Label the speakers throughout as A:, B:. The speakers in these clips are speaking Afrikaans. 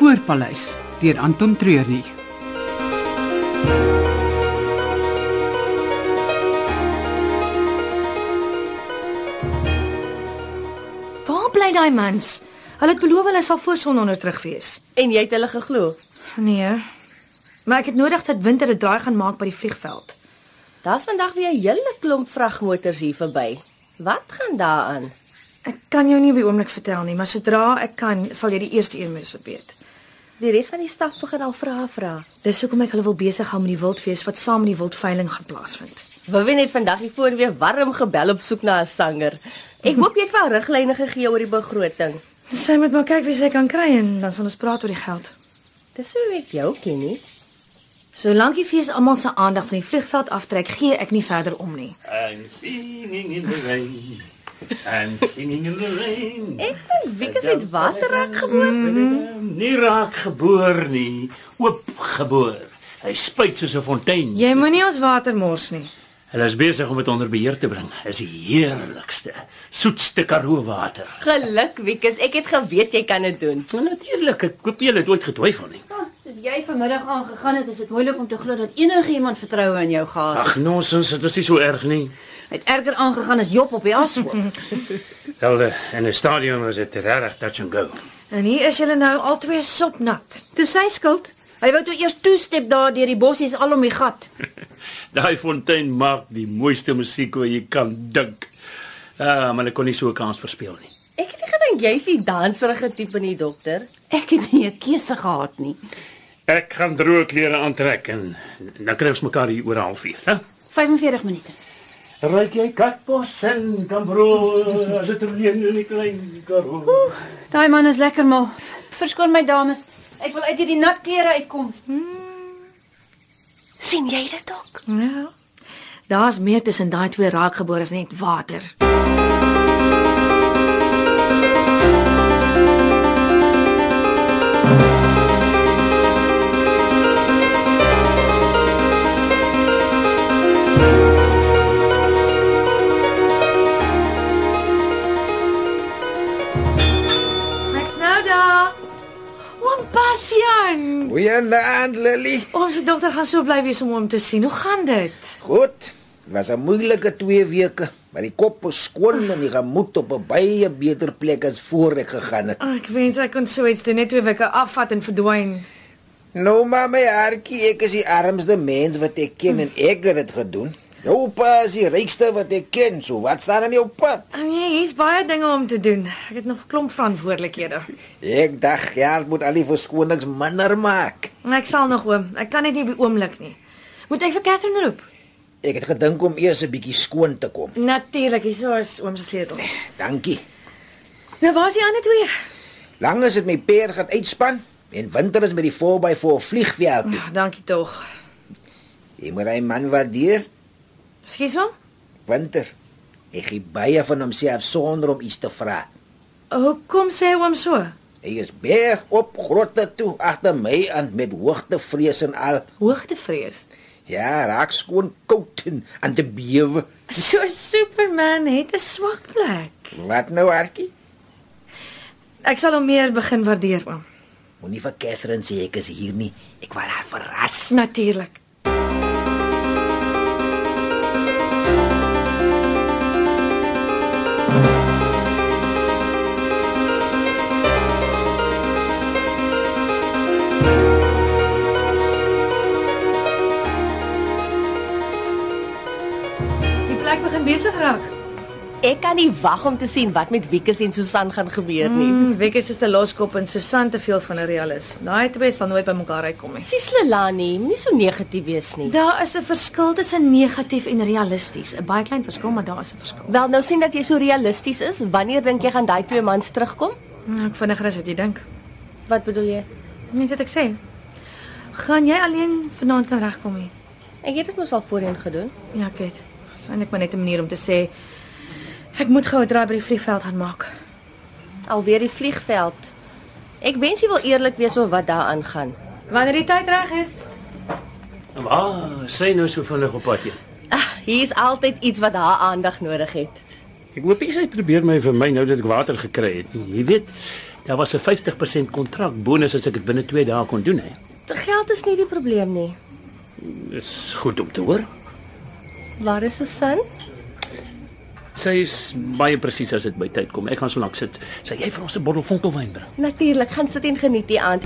A: Voorpaleis deur Anton Treurnig.
B: Waar bly daai mans? Hulle het beloof hulle sal voor sononder terug wees.
C: En jy het hulle geglo.
B: Nee. Maar ek het nodig dat winter 'n draai gaan maak by die vliegveld.
C: Daar's vandag weer 'n hele klomp vragmotors hier verby. Wat gaan daaraan?
B: Ek kan jou nie op die oomblik vertel nie, maar sodra ek kan, sal jy die eerste een wees wat weet.
C: Die res van die staf begin al vra vra.
B: Dis hoekom ek hulle wil besig hou met die wildfees wat saam met die wildveiling gaan plaasvind.
C: Wivien het vandag die voor weer warm gebel op soek na 'n sanger. Ek hoop jy het vir haar riglyne gegee oor die begroting.
B: Sy moet maar kyk wie sy kan kry en dan sal ons praat oor die geld.
C: Dis hoe ek jou ken nie.
B: Solank die fees almal se aandag van die vliegveld aftrek, gee ek nie verder om nie.
D: And singing in the rain. And singing in the rain.
E: Eh?
D: Mm.
C: Ek dink Wikus het waterrak geboor.
D: Nie raak geboor nie, oop geboor. Hy spuit soos 'n fontein.
E: Ja.
B: Jy moenie ons water mors nie.
D: Hulle is besig om dit onder beheer te bring. Is die heerlikste, soetste Karoo water.
C: Geluk Wikus, ek het geweet jy kan dit doen.
D: Nou natuurlik, ek koop julle dit ooit getwyfel nie.
E: Ah, Soos jy vanmiddag aangegaan het, is dit moeilik om te glo dat enige iemand vertroue in jou gehad het.
D: Ag, nonsens, dit was nie so erg nie.
E: Hy Het erger aangegaan as Job op die ashoop.
D: Wel, eh, in 'n stadion was dit regtig touch and go.
B: En hier is julle nou al twee sopnat.
E: Toe sy skuld, hy wou toe eers toestep daar deur die bossies alom die gat.
D: Daai fontein maak die mooiste musiek wat jy kan dink. Ah, maar ek kon nie so 'n kans verspeel nie.
C: Ek het nie gedink jy's die danserige tipe nie, dokter.
E: Ek het nie 'n keuse gehad nie.
D: Ek gaan droë klere aantrek en dan kry ons mekaar hier oor 'n halfuur, hè?
E: 45 minute.
D: Ryk jy katbos en kambroe, as dit reën in die klein karoo.
E: Daai man is lekker mal. Verskoon my dames, ek wil uit hierdie nat klere uitkom.
C: sien jy dit ook?
B: Ja. Daar's meer tussen daai twee raakgebore as net water. Ek's nou daar. Oom Bastian.
F: Goeienaand Lily.
B: Ons dogter gaan so bly wees om hom te sien. Hoe gaan dit?
F: Goed. Was 'n moeilike 2 weke, maar die kop is skoon en die gemoed op 'n baie beter plek as voor ek gegaan het.
B: Oh, ek wens ek kon so iets doen net twee weke afvat en verdwyn.
F: Nou maar my hartjie, ek is die armste mens wat ek ken en ek het dit gedoen. Jou pa is die rykste wat ek ken, so wat staan aan jou pad?
B: Oh, nee, hier's baie dinge om te doen. Ek het nog 'n klomp verantwoordelikhede.
F: Ek dacht ja, ek moet al die verskonings minder maak.
B: Ek sal nog oom. Ek kan net nie op die oomblik nie. Moet ek vir Katherine roep?
F: Ek het gedink om eers 'n bietjie skoon te kom.
B: Natuurlik, hier is oom se sleutel.
F: Dankie.
B: Nee. Nou waar's die ander twee?
F: Lang as dit my peer gaan uitspan en winter is met die 4x4 vliegveld. toe.
B: Oh, dankie tog.
F: Jy moet hy man waardeer.
B: Skus hom?
F: Winter. Hy gee baie van homself sonder om iets te vra.
B: Hoekom sê oom so?
F: Hy is berg op grotte toe agter my aan met hoogtevrees en al.
B: Hoogtevrees.
F: Ja, raak skoon koud en aan te bewe.
B: So Superman het 'n swak plek.
F: Wat nou, Arkie?
B: Ek sal hom meer begin waardeer oom.
F: Moenie vir Catherine sê ek is hier nie. Ek wil haar verras.
B: Natuurlik. Die plek begin besig raak.
C: Ek kan nie wag om te sien wat met Wikus en Susan gaan gebeur nie. Mm.
B: Hmm, Wekkies is te loskop en Susan te veel van 'n realis. Daai twee sal nooit by mekaar uitkom nie.
C: Sislelani, moenie so negatief wees nie.
B: Daar is 'n verskil tussen negatief en realisties. 'n Baie klein verskil, maar daar is 'n verskil.
C: Wel nou sien dat jy so realisties is. Wanneer dink jy gaan daai twee mans terugkom?
B: Nou, Ek vinniger as wat jy dink.
C: Wat bedoel jy?
B: Net wat ek sê. Gaan jy alleen vanaand kan regkom hier?
C: Ek het dit mos al voorheen gedoen.
B: Ja, ek weet. Dis eintlik maar net 'n manier om te sê ek moet gou 'n draai by die vliegveld gaan maak.
C: Alweer die vliegveld. Ek wens jy wil eerlik wees oor wat daar aangaan.
B: Wanneer die tyd reg is.
D: Ah, sy nou so vinnig op pad heen.
C: Ag, Ah, hier is altyd iets wat haar aandag nodig het.
D: Ek hoop nie sy probeer my vir my nou dat ek water gekry het nie. Jy weet, Daar was 'n 50% kontrak bonus as ek dit binne 2 dae kon doen hè.
C: Geld is nie die probleem nie.
D: Dis goed om te hoor.
C: Waar is Susan?
D: Sy is baie presies as dit by tyd kom. Ek gaan so lank sit. Sy jy vir ons 'n bottel vonkelwyn bring.
C: Natuurlik, gaan sit en geniet die aand.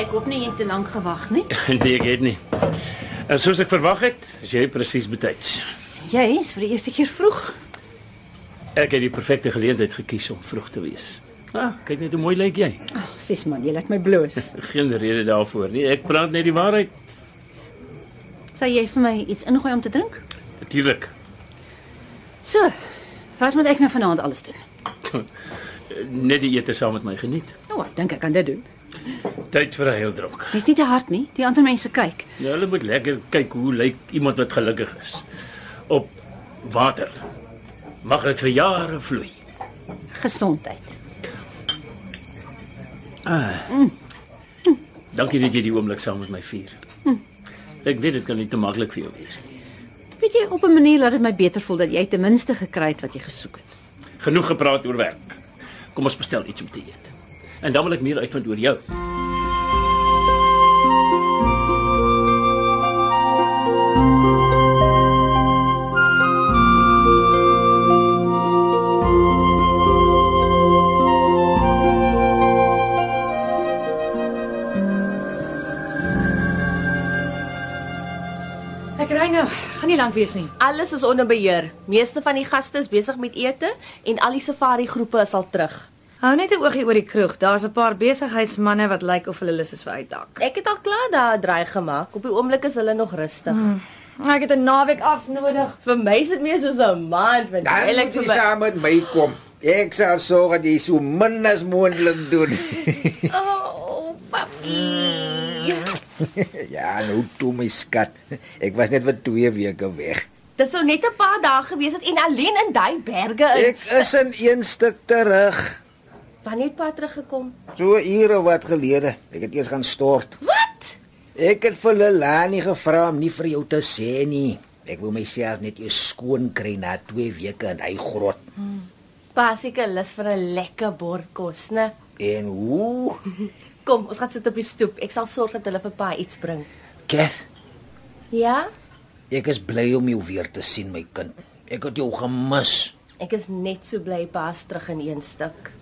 E: Ek hoop nie jy het te lank gewag nie.
D: nee, ek het nie. En soos ek verwag het, is jy presies betyds.
E: Jy is vir die eerste keer vroeg.
D: Ek het die perfekte geleentheid gekies om vroeg te wees. Ah, kyk net hoe mooi lyk jy.
E: Ag, oh, sis man, jy laat my bloos.
D: Geen rede daarvoor nie. Ek praat net die waarheid.
E: Sal jy vir my iets ingooi om te drink?
D: Natuurlik.
E: So. Wat moet ek nou vanaand alles doen?
D: Net die ete saam met my geniet.
E: Nou, ek dink ek kan dit doen.
D: Tyd vir 'n heeldronk.
E: Net nie te hard nie. Die ander mense kyk.
D: Nou, hulle moet lekker kyk hoe lyk iemand wat gelukkig is op water. Mag dit vir jare vloei.
E: Gesondheid.
D: Dankie dat jy die oomblik saam met my vier. Hm. Ek weet dit kan nie te maklik vir jou wees nie.
E: Weet jy, op 'n manier laat dit my beter voel dat jy ten minste gekry het wat jy gesoek het.
D: Genoeg gepraat oor werk. Kom ons bestel iets om te eet. En dan wil ek meer uitvind oor jou.
B: Ek ry nou. Gaan nie lank wees nie.
C: Alles is onder beheer. Meeste van die gaste is besig met ete en al die safari groepe is al terug.
B: Hou net 'n oogie oor die kroeg. Daar's 'n paar besigheidsmense wat lyk of hulle lus is vir uitdak.
C: Ek het al klaar daar 'n draai gemaak. Op die oomblik is hulle nog rustig.
E: Mm.
C: Hmm.
B: Ek het 'n naweek af nodig.
C: Vir my is dit meer soos 'n maand want
F: Dan
C: eintlik
F: moet
C: vir
F: jy
C: my
F: saam met my kom. Ek sal sorg dat jy so min as moontlik doen.
C: Oh, papie.
F: ja, nou toe my skat. Ek was net vir 2 weke weg.
C: Dit sou net 'n paar dae gewees het en alleen in daai berge in.
F: Ek is in een stuk terug.
C: Wanneer het pa teruggekom?
F: So ure wat gelede. Ek het eers gaan stort.
C: Wat?
F: Ek het vir Lelani gevra om nie vir jou te sê nie. Ek wil myself net eers skoon kry na 2 weke in hy grot.
C: Pa seker lus vir 'n lekker bord kos, né?
F: En hoe?
C: Kom, ons gaan sit op die stoep. Ek sal sorg dat hulle vir pa iets bring.
F: Kath,
C: Ja?
F: ek is bly om jou weer te sien, my kind. Ek het jou gemis.
C: Ek is net so bly pa's terug in een stuk.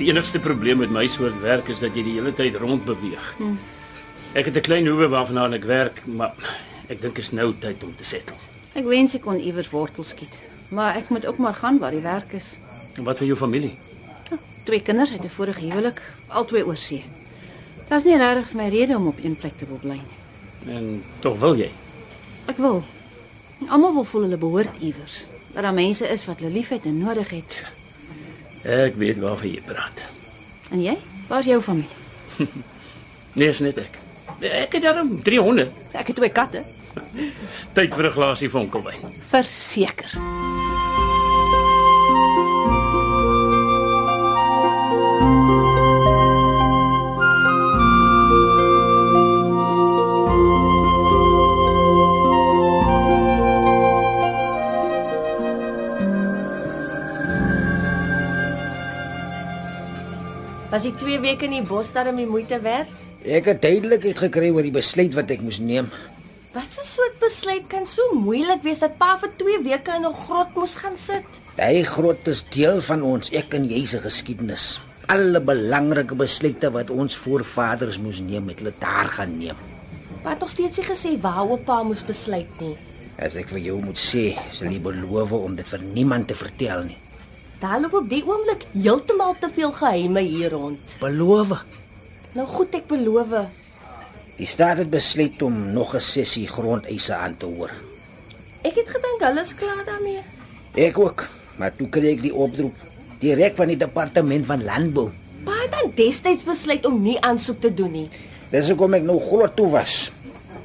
D: Die enigste probleem met my soort werk is dat jy die hele tyd rond beweeg. Ek het 'n klein hoewe waarvandaan ek werk, maar ek dink is nou tyd om te settle.
E: Ek wens ek kon iewers wortel skiet, maar ek moet ook maar gaan waar die werk is.
D: En wat van jou familie?
E: Twee kinders uit 'n vorige huwelik, albei oorsee. Daar's nie regtig vir my rede om op een plek te wil bly nie.
D: En tog wil jy.
E: Ek wil. Almal wil voel hulle behoort iewers. Dat daar mense is wat hulle liefhet en nodig het.
D: Ek weet waarvan jy praat.
E: En jy? Waar's jou familie?
D: Nee, is net ek. Ek het daarom 300
E: Ek het twee katte.
D: tyd vir 'n glasie vonkelwyn.
E: Verseker.
C: Was ek 2 weke in die bos daarom die moeite werd?
F: Ek het duidelikheid gekry oor die besluit wat ek moes neem.
C: Wat 'n soort besluit kan so moeilik wees dat pa vir 2 weke in 'n grot moes gaan sit?
F: Hy grot is deel van ons, ek en jy se geskiedenis. Alle belangrike besluite wat ons voorvaders moes neem, het hulle daar gaan neem.
C: Pa het nog steeds nie gesê waaroor pa moes besluit nie.
F: As ek vir jou moet sê, sal jy beloof om dit vir niemand te vertel nie.
C: Daar loop op die oomblik heeltemal te veel geheime hier rond.
F: Beloof.
C: Nou goed, ek beloof.
F: Die staat het besluit om nog 'n sessie grondeise aan te hoor.
C: Ek het gedink hulle is klaar daarmee.
F: Ek ook, maar toe kry ek die oproep direk van die departement van landbou.
C: Pa het dan destyds besluit om nie aansoek te doen nie.
F: Dis hoekom ek nou groot toe was.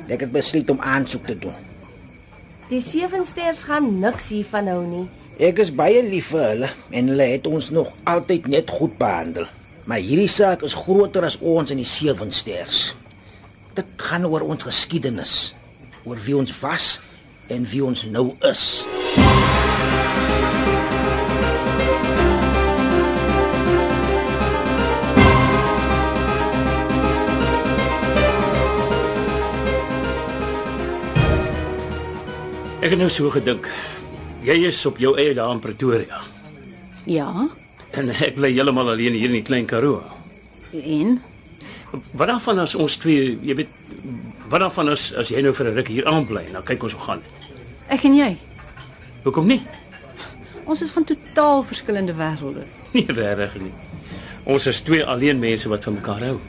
F: Ek het besluit om aansoek te doen.
C: Die sewensters gaan niks hiervan hou nie.
F: Ek is baie lief vir hulle en hulle het ons nog altyd net goed behandel. Maar hierdie saak is groter as ons en die sewe sterre. Dit gaan oor ons geskiedenis, oor wie ons was en wie ons nou is.
D: Ek het nou so gedink. Jy is op jou eie daar in Pretoria
E: Ja.
D: en ek bly heeltemal alleen hier in die klein Karoo.
E: En
D: Wat dan van as ons twee, jy weet, wat dan van as as jy nou vir 'n ruk hier aanbly en dan kyk ons hoe gaan dit.
E: ek en jy,
D: Hoekom nie?
E: ons is van totaal verskillende wêrelde.
D: Nee, regtig nie. Ons is twee alleen mense wat van mekaar hou.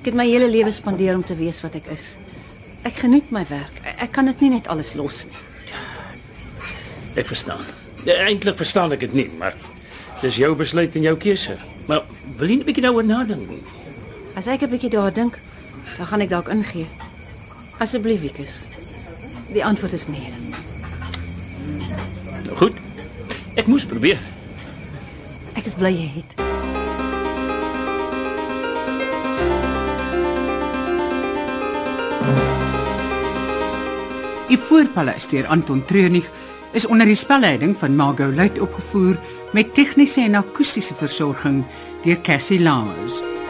E: Ek het my hele lewe spandeer om te wees wat ek is. Ek geniet my werk. Ek- Ek kan dit nie net alles los nie.
D: Ek verstaan. Ja, Eintlik verstaan ek dit nie, maar dis jou besluit en jou keuse. Maar wil jy net 'n bietjie daaroor nadink?
E: As ek 'n bietjie daaroor dink, dan gaan ek dalk ingee. Asseblief, Wikus. Die antwoord is nee.
D: Nou goed. Ek moes probeer.
E: Ek is bly jy het.
A: Die voorpaleis deur Anton Treurnig is onder die spelleiding van Margot Luit opgevoer met tegniese en akoestiese versorging deur Cassie Lawrence.